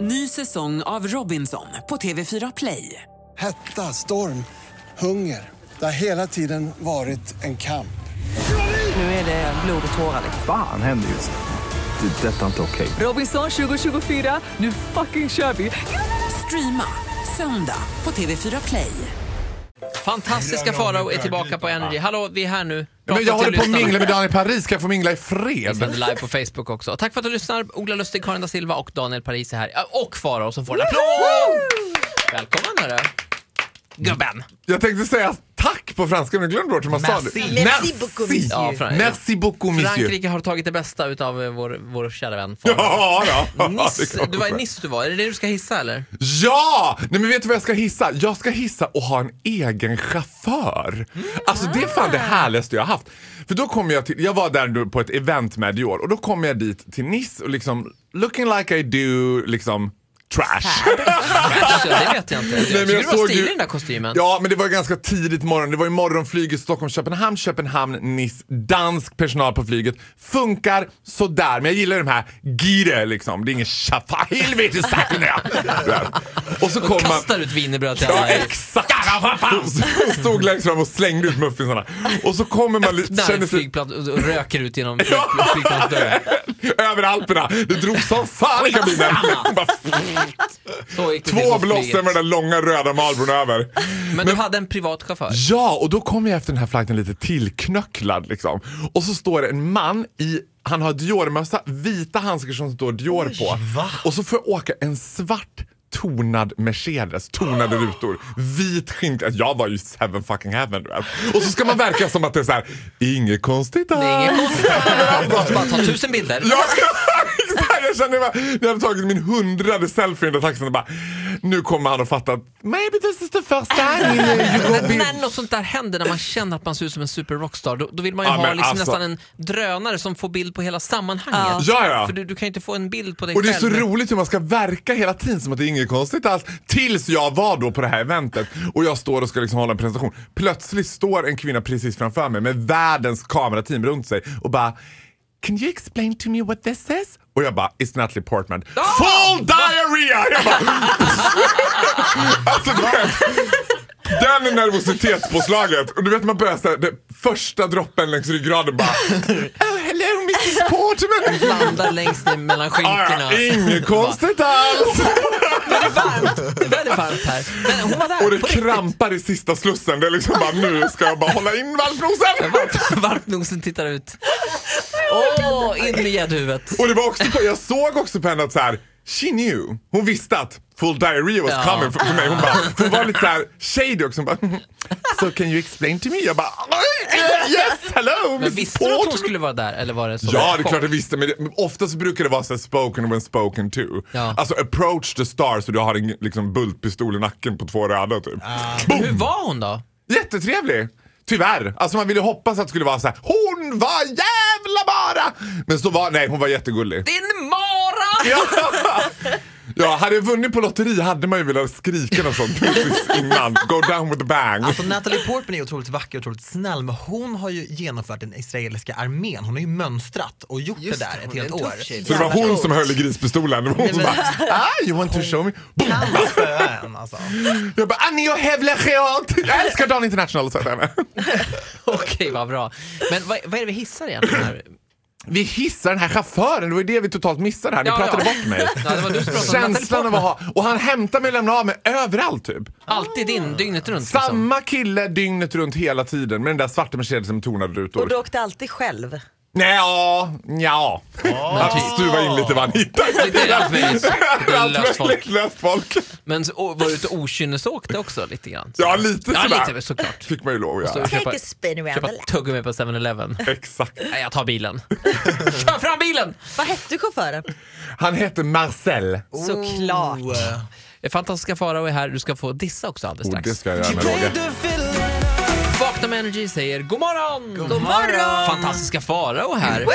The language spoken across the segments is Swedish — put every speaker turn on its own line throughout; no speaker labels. Ny säsong av Robinson på TV4 Play.
Hetta, storm, hunger. Det har hela tiden varit en kamp.
Nu är det blod och tårar.
Fan händer just nu. Det. är Detta är inte okej.
Robinson 2024, nu fucking kör vi! Streama söndag på TV4 Play.
Fantastiska Farao är tillbaka på Energy. Hallå, vi är här nu. Prata
Men jag håller
till
på att mingla
lyssnarna.
med Dan i Paris, kan jag få mingla i
Vi sänder
fred?
live på Facebook också. Tack för att du lyssnar. Ola Lustig, Karin da Silva och Daniel Paris är här. Ja, Och Farao som får en applåd! Välkommen hörru. Gubben.
Jag tänkte säga tack på franska, men jag glömde bort hur man sa
Merci.
det.
Merci beaucoup, monsieur.
Ja, Fran-
Merci beaucoup, monsieur.
Frankrike har tagit det bästa utav eh, vår, vår kära vän Farao.
Ja, då.
Nice.
Det kommer
Du var i
fram.
Nice du var. Är det det du ska hissa eller?
Ja! Nej, men vet du vad jag ska hissa? Jag ska hissa och ha en egen chaufför.
Mm.
Alltså det är fan det härligaste jag har haft. För då kommer jag till, jag var där då på ett event med Dior och då kommer jag dit till Nice och liksom looking like I do, liksom trash.
Alltså, det vet jag inte. Jag tycker du var
såg
stilig
ju-
i den där kostymen.
Ja, men det var ganska tidigt morgon. Det var ju morgonflyget Stockholm-Köpenhamn, Köpenhamn-Nice. Dansk personal på flyget. Funkar sådär, men jag gillar de här gire liksom. Det är ingen tjaffa. Helvete saknar Och så kom man...
Kastar ut wienerbröd till
Ja,
alla.
exakt! Hon stod längst fram och slängde ut muffinsarna. Och så kommer man lite...
Öppnar
Känner sig,
flygplan och och röker ut genom flyg- flygplansdörren.
över Alperna. Det drog som fan i kabinen. Bara
Så gick det till
Två
på
blås,
flyget.
sen var den där långa röda Marlbon över.
Men du hade en privat chaufför.
Ja, och då kommer jag efter den här flighten lite tillknöcklad liksom. Och så står det en man i, han har Dior-mössa, vita handskar som står Dior på. Och så får jag åka en svart tonad Mercedes, tonade rutor, vit skinn. Jag var ju seven fucking heaven du vet. Och så ska man verka som att det är så här, inget konstigt
Det är
alls.
inget konstigt. Du måste bara ta tusen bilder.
Ja, exakt. jag kände bara, när jag hade tagit min hundrade selfie i den där taxin och bara, nu kommer han att fatta att maybe this is the first time you go big.
När något sånt där händer, när man känner att man ser ut som en super rockstar, då, då vill man ju
Ja,
ha
men
liksom
alltså-
nästan en drönare som får bild på hela sammanhanget.
Ja, ja.
För du, du kan ju inte få en bild på dig
Och det är så
själv.
roligt hur man ska verka hela tiden som att det är inget konstigt alls. Tills jag var då på det här eventet och jag står och ska liksom hålla en presentation. Plötsligt står en kvinna precis framför mig med världens kamerateam runt sig och bara Can you explain to me what this is? Och jag bara, it's Natalie Portman.
Ah!
Full diarrhea! Jag bara, alltså du vet. Den är nervositetspåslaget. Och du vet man börjar såhär, det första droppen längs ryggraden bara Oh hello Mrs Portman!
Landar längst ner mellan skinkorna.
Ah, ja, inget konstigt alls!
Men det är varmt. Det är väldigt varmt här. Men hon var där.
Och det
på riktigt.
krampar i sista slussen. Det är liksom bara nu ska jag bara hålla in valprosen.
Varmt, varmt nog som tittar ut. Åh, in med gäddhuvudet.
Och det var också, på- jag såg också på henne att så här, she knew. Hon visste att full diarrhea was
Ja.
coming för, för mig. Hon bara, för hon var lite så här shady också. Hon bara, so can you explain to me? Jag bara, "Eh, yes, hello,
Men
Mrs.
visste du att hon
Portman."
skulle vara där? Eller var det så
Ja, det är klart jag visste. Men det- men oftast brukar det vara så här spoken when spoken to.
Ja.
Alltså approach the stars så du har en liksom, bultpistol i nacken på två röda typ.
Hur var hon då?
Jättetrevlig! Tyvärr. Alltså man ville hoppas att det skulle vara så här. hon var jävla bara! Men så var, nej hon var jättegullig.
Din mara!
Ja. ja, hade jag vunnit på lotteri hade man ju velat skrika något sånt precis innan. Go down with a bang.
Alltså Natalie Portman är otroligt vacker och otroligt snäll men hon har ju genomfört den israeliska armén. Hon har ju mönstrat och gjort det där ett helt år.
så det var hon som höll i grispistolen. Det var hon som bara, ah, you want to show me? Boom.
Kan spöa en alltså.
Jag bara, "Ah, Annie och Hevla Geant! Jag älskar Dan International, sa jag till henne.
Okej, vad bra. Men vad, vad är det vi hissar egentligen här?
Vi hissar den här chauffören, det var ju det vi totalt missade här. Ni
Ja,
pratade
ja.
bort mig.
Ja, det var du som pratade om Natalie
Känslan av att ha, och han hämtar mig och lämnar av mig överallt typ.
Alltid din, dygnet runt. Liksom.
Samma kille dygnet runt hela tiden med den där svarta Mercedesen med tonade rutor.
Och du åkte alltid själv.
Nej, ja, ja. Han stuva Alltså, in lite vad han hittade.
typ. Lite allt möjligt.
Allt
Löst
möjligt
folk.
löst folk.
Men så, och, var du ute och okynnesåkte också lite grann?
Ja, lite
Ja,
sådär.
lite, såklart.
Fick man ju lov att
Så
göra.
köpa,
Take a spin around
köpa
the lap.
tuggummi på 7-Eleven.
Exakt.
Nej, jag tar bilen. Kör fram bilen!
Vad hette chauffören?
Han heter Marcel.
Såklart.
Och, eh,
Fantastiska Farao är här, du ska få dissa också alldeles
Och
strax.
det ska Oh, jag göra med Roger.
Vad Vakna med Energy säger god morgon!
God morgon!
Fantastiska Farao här.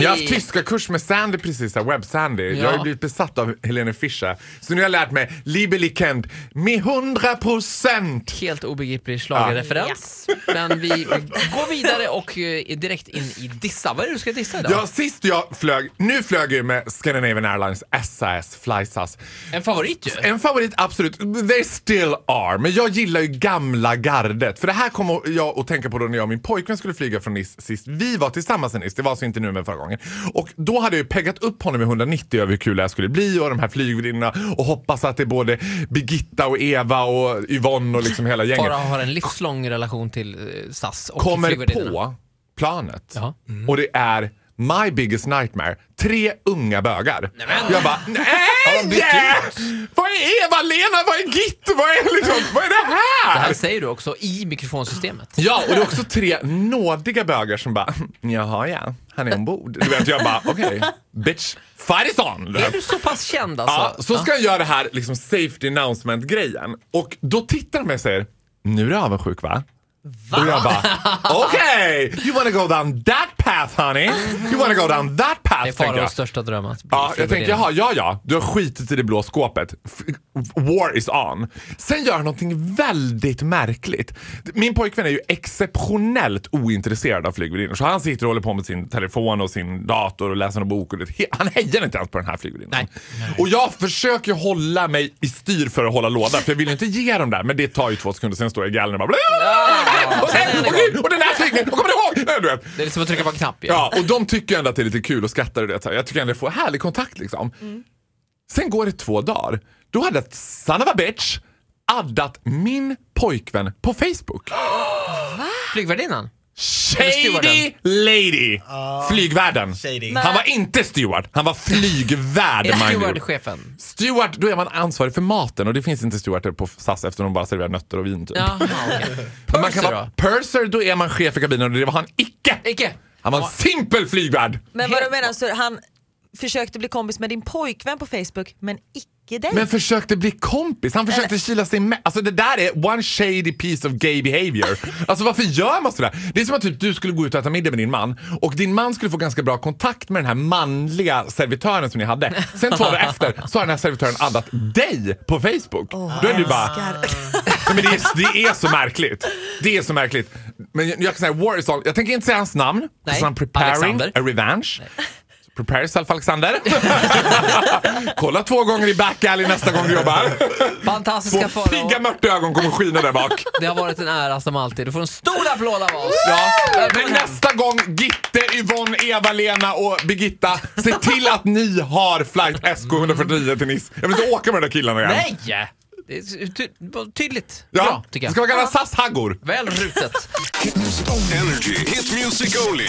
Jag har haft tyska kurs med Sandy precis, här, Web Sandy. Jag har ju
Ja.
blivit besatt av Helene Fischer. Så nu har jag lärt mig Liebelichend med 100 procent.
Helt obegriplig schlagerreferens. Men vi går vidare och eh, direkt in i dissa. Vad är det du ska dissa idag?
Ja, sist jag flög, nu flög jag ju med Scandinavian Airlines SAS FlySAS.
En favorit ju.
En favorit, absolut. They still are. Men jag gillar ju gamla gardet. För det här kommer jag att tänka på då när jag och min pojkvän skulle flyga från Nice sist. Vi var tillsammans i Nice, det var alltså inte nu men förra gången. Och då hade jag ju peggat upp honom i 190 över hur kul det här skulle bli och de här flygvärdinnorna och hoppas att det är både Birgitta och Eva och Yvonne och liksom hela gänget
Farao har en livslång relation till eh, SAS och
kommer
flygvärdinnorna.
på planet
Jaha.
och det är My biggest nightmare, tre unga bögar. Jag bara, nej! Vad är Eva-Lena? Vad är Gitt? Vad är, liksom, vad är det här?
Det här säger du också i mikrofonsystemet.
Ja, och det är också tre nådiga bögar som bara, jaha ja, han är ombord. Du vet, jag bara, okej, bitch, fight is on!
Är du så pass känd
Ja,
alltså?
så ska jag göra det här liksom safety announcement-grejen. Och då tittar de på mig och säger, nu är du avundsjuk va? Och jag bara, okej! you wanna go down that path honey? You wanna go down that path?
Det är
tänker jag.
Faraos största dröm att bli
Ja, jag tänkte,
flygvärdinna.
jaha, ja, ja, du har skitit i det blå skåpet. F- War is on. Sen gör han någonting väldigt märkligt. Min pojkvän är ju exceptionellt ointresserad av flygvärdinnor. Så han sitter och håller på med sin telefon och sin dator och läser en bok. Och det, he- han hejar inte ens på den här flygvärdinnan. Och jag försöker hålla mig i styr för att hålla låda. För jag vill ju inte ge dem där. Men det tar ju två sekunder, sen står jag i galgen och bara... Och, sen,
Sen är det
och, gud, och den där flygningen, och kommer du ihåg? Nej, Du vet.
Det är liksom att trycka på en knapp ju.
Ja, och de tycker ändå att det är lite kul och skrattar och det. Så här, Jag tycker ändå jag får härlig kontakt liksom.
Mm.
Sen går det två dagar. Då hade ett son of a bitch addat min pojkvän på Facebook.
Flygvärdinnan?
Shady lady! Flygvärden.
Shady.
Han var inte steward, han var flygvärd.
Är
mind you.
stewardchefen?
Steward, då är man ansvarig för maten och det finns inte stewarder på SAS eftersom de bara serverar nötter och vin typ.
Jaha, okej.
Men man kan
Purser
vara
då?
purser, då är man chef i kabinen och det var han icke.
Icke.
Han var en simpel flygvärd.
Men vad du menar, så han försökte bli kompis med din pojkvän på Facebook men icke dig?
Men försökte bli kompis. Han försökte kila sig med. Alltså det där är one shady piece of gay behavior. Alltså varför gör man sådär? Det är som att typ, du skulle gå ut och äta middag med din man och din man skulle få ganska bra kontakt med den här manliga servitören som ni hade. Sen två dagar efter så har den här servitören addat dig på Facebook. Då är du bara... Nej, men det, är, det är så märkligt. Det är så märkligt. Men jag, jag kan säga War is on. Jag tänker inte säga hans namn.
Nej.
Så han preparing
Alexander.
a revenge. Prepare yourself Alexander. Kolla två gånger i back alley nästa gång du jobbar.
Fantastiska
Två pigga
Farao.
mörtögon kommer skina där bak.
Det har varit en ära som alltid. Du får en stor applåd av oss.
Ja. Men
Välkommen hem.
nästa gång, Gitte, Yvonne, Eva-Lena och Birgitta, se till att ni har flight SK149 till Nice. Jag vill inte åka med de där killarna igen.
Nej! Det är ty- tydligt.
Ja,
Bra,
det
tycker jag.
ska vara gamla SAS-haggor.
Väl rutet.
Energy. Hit music only.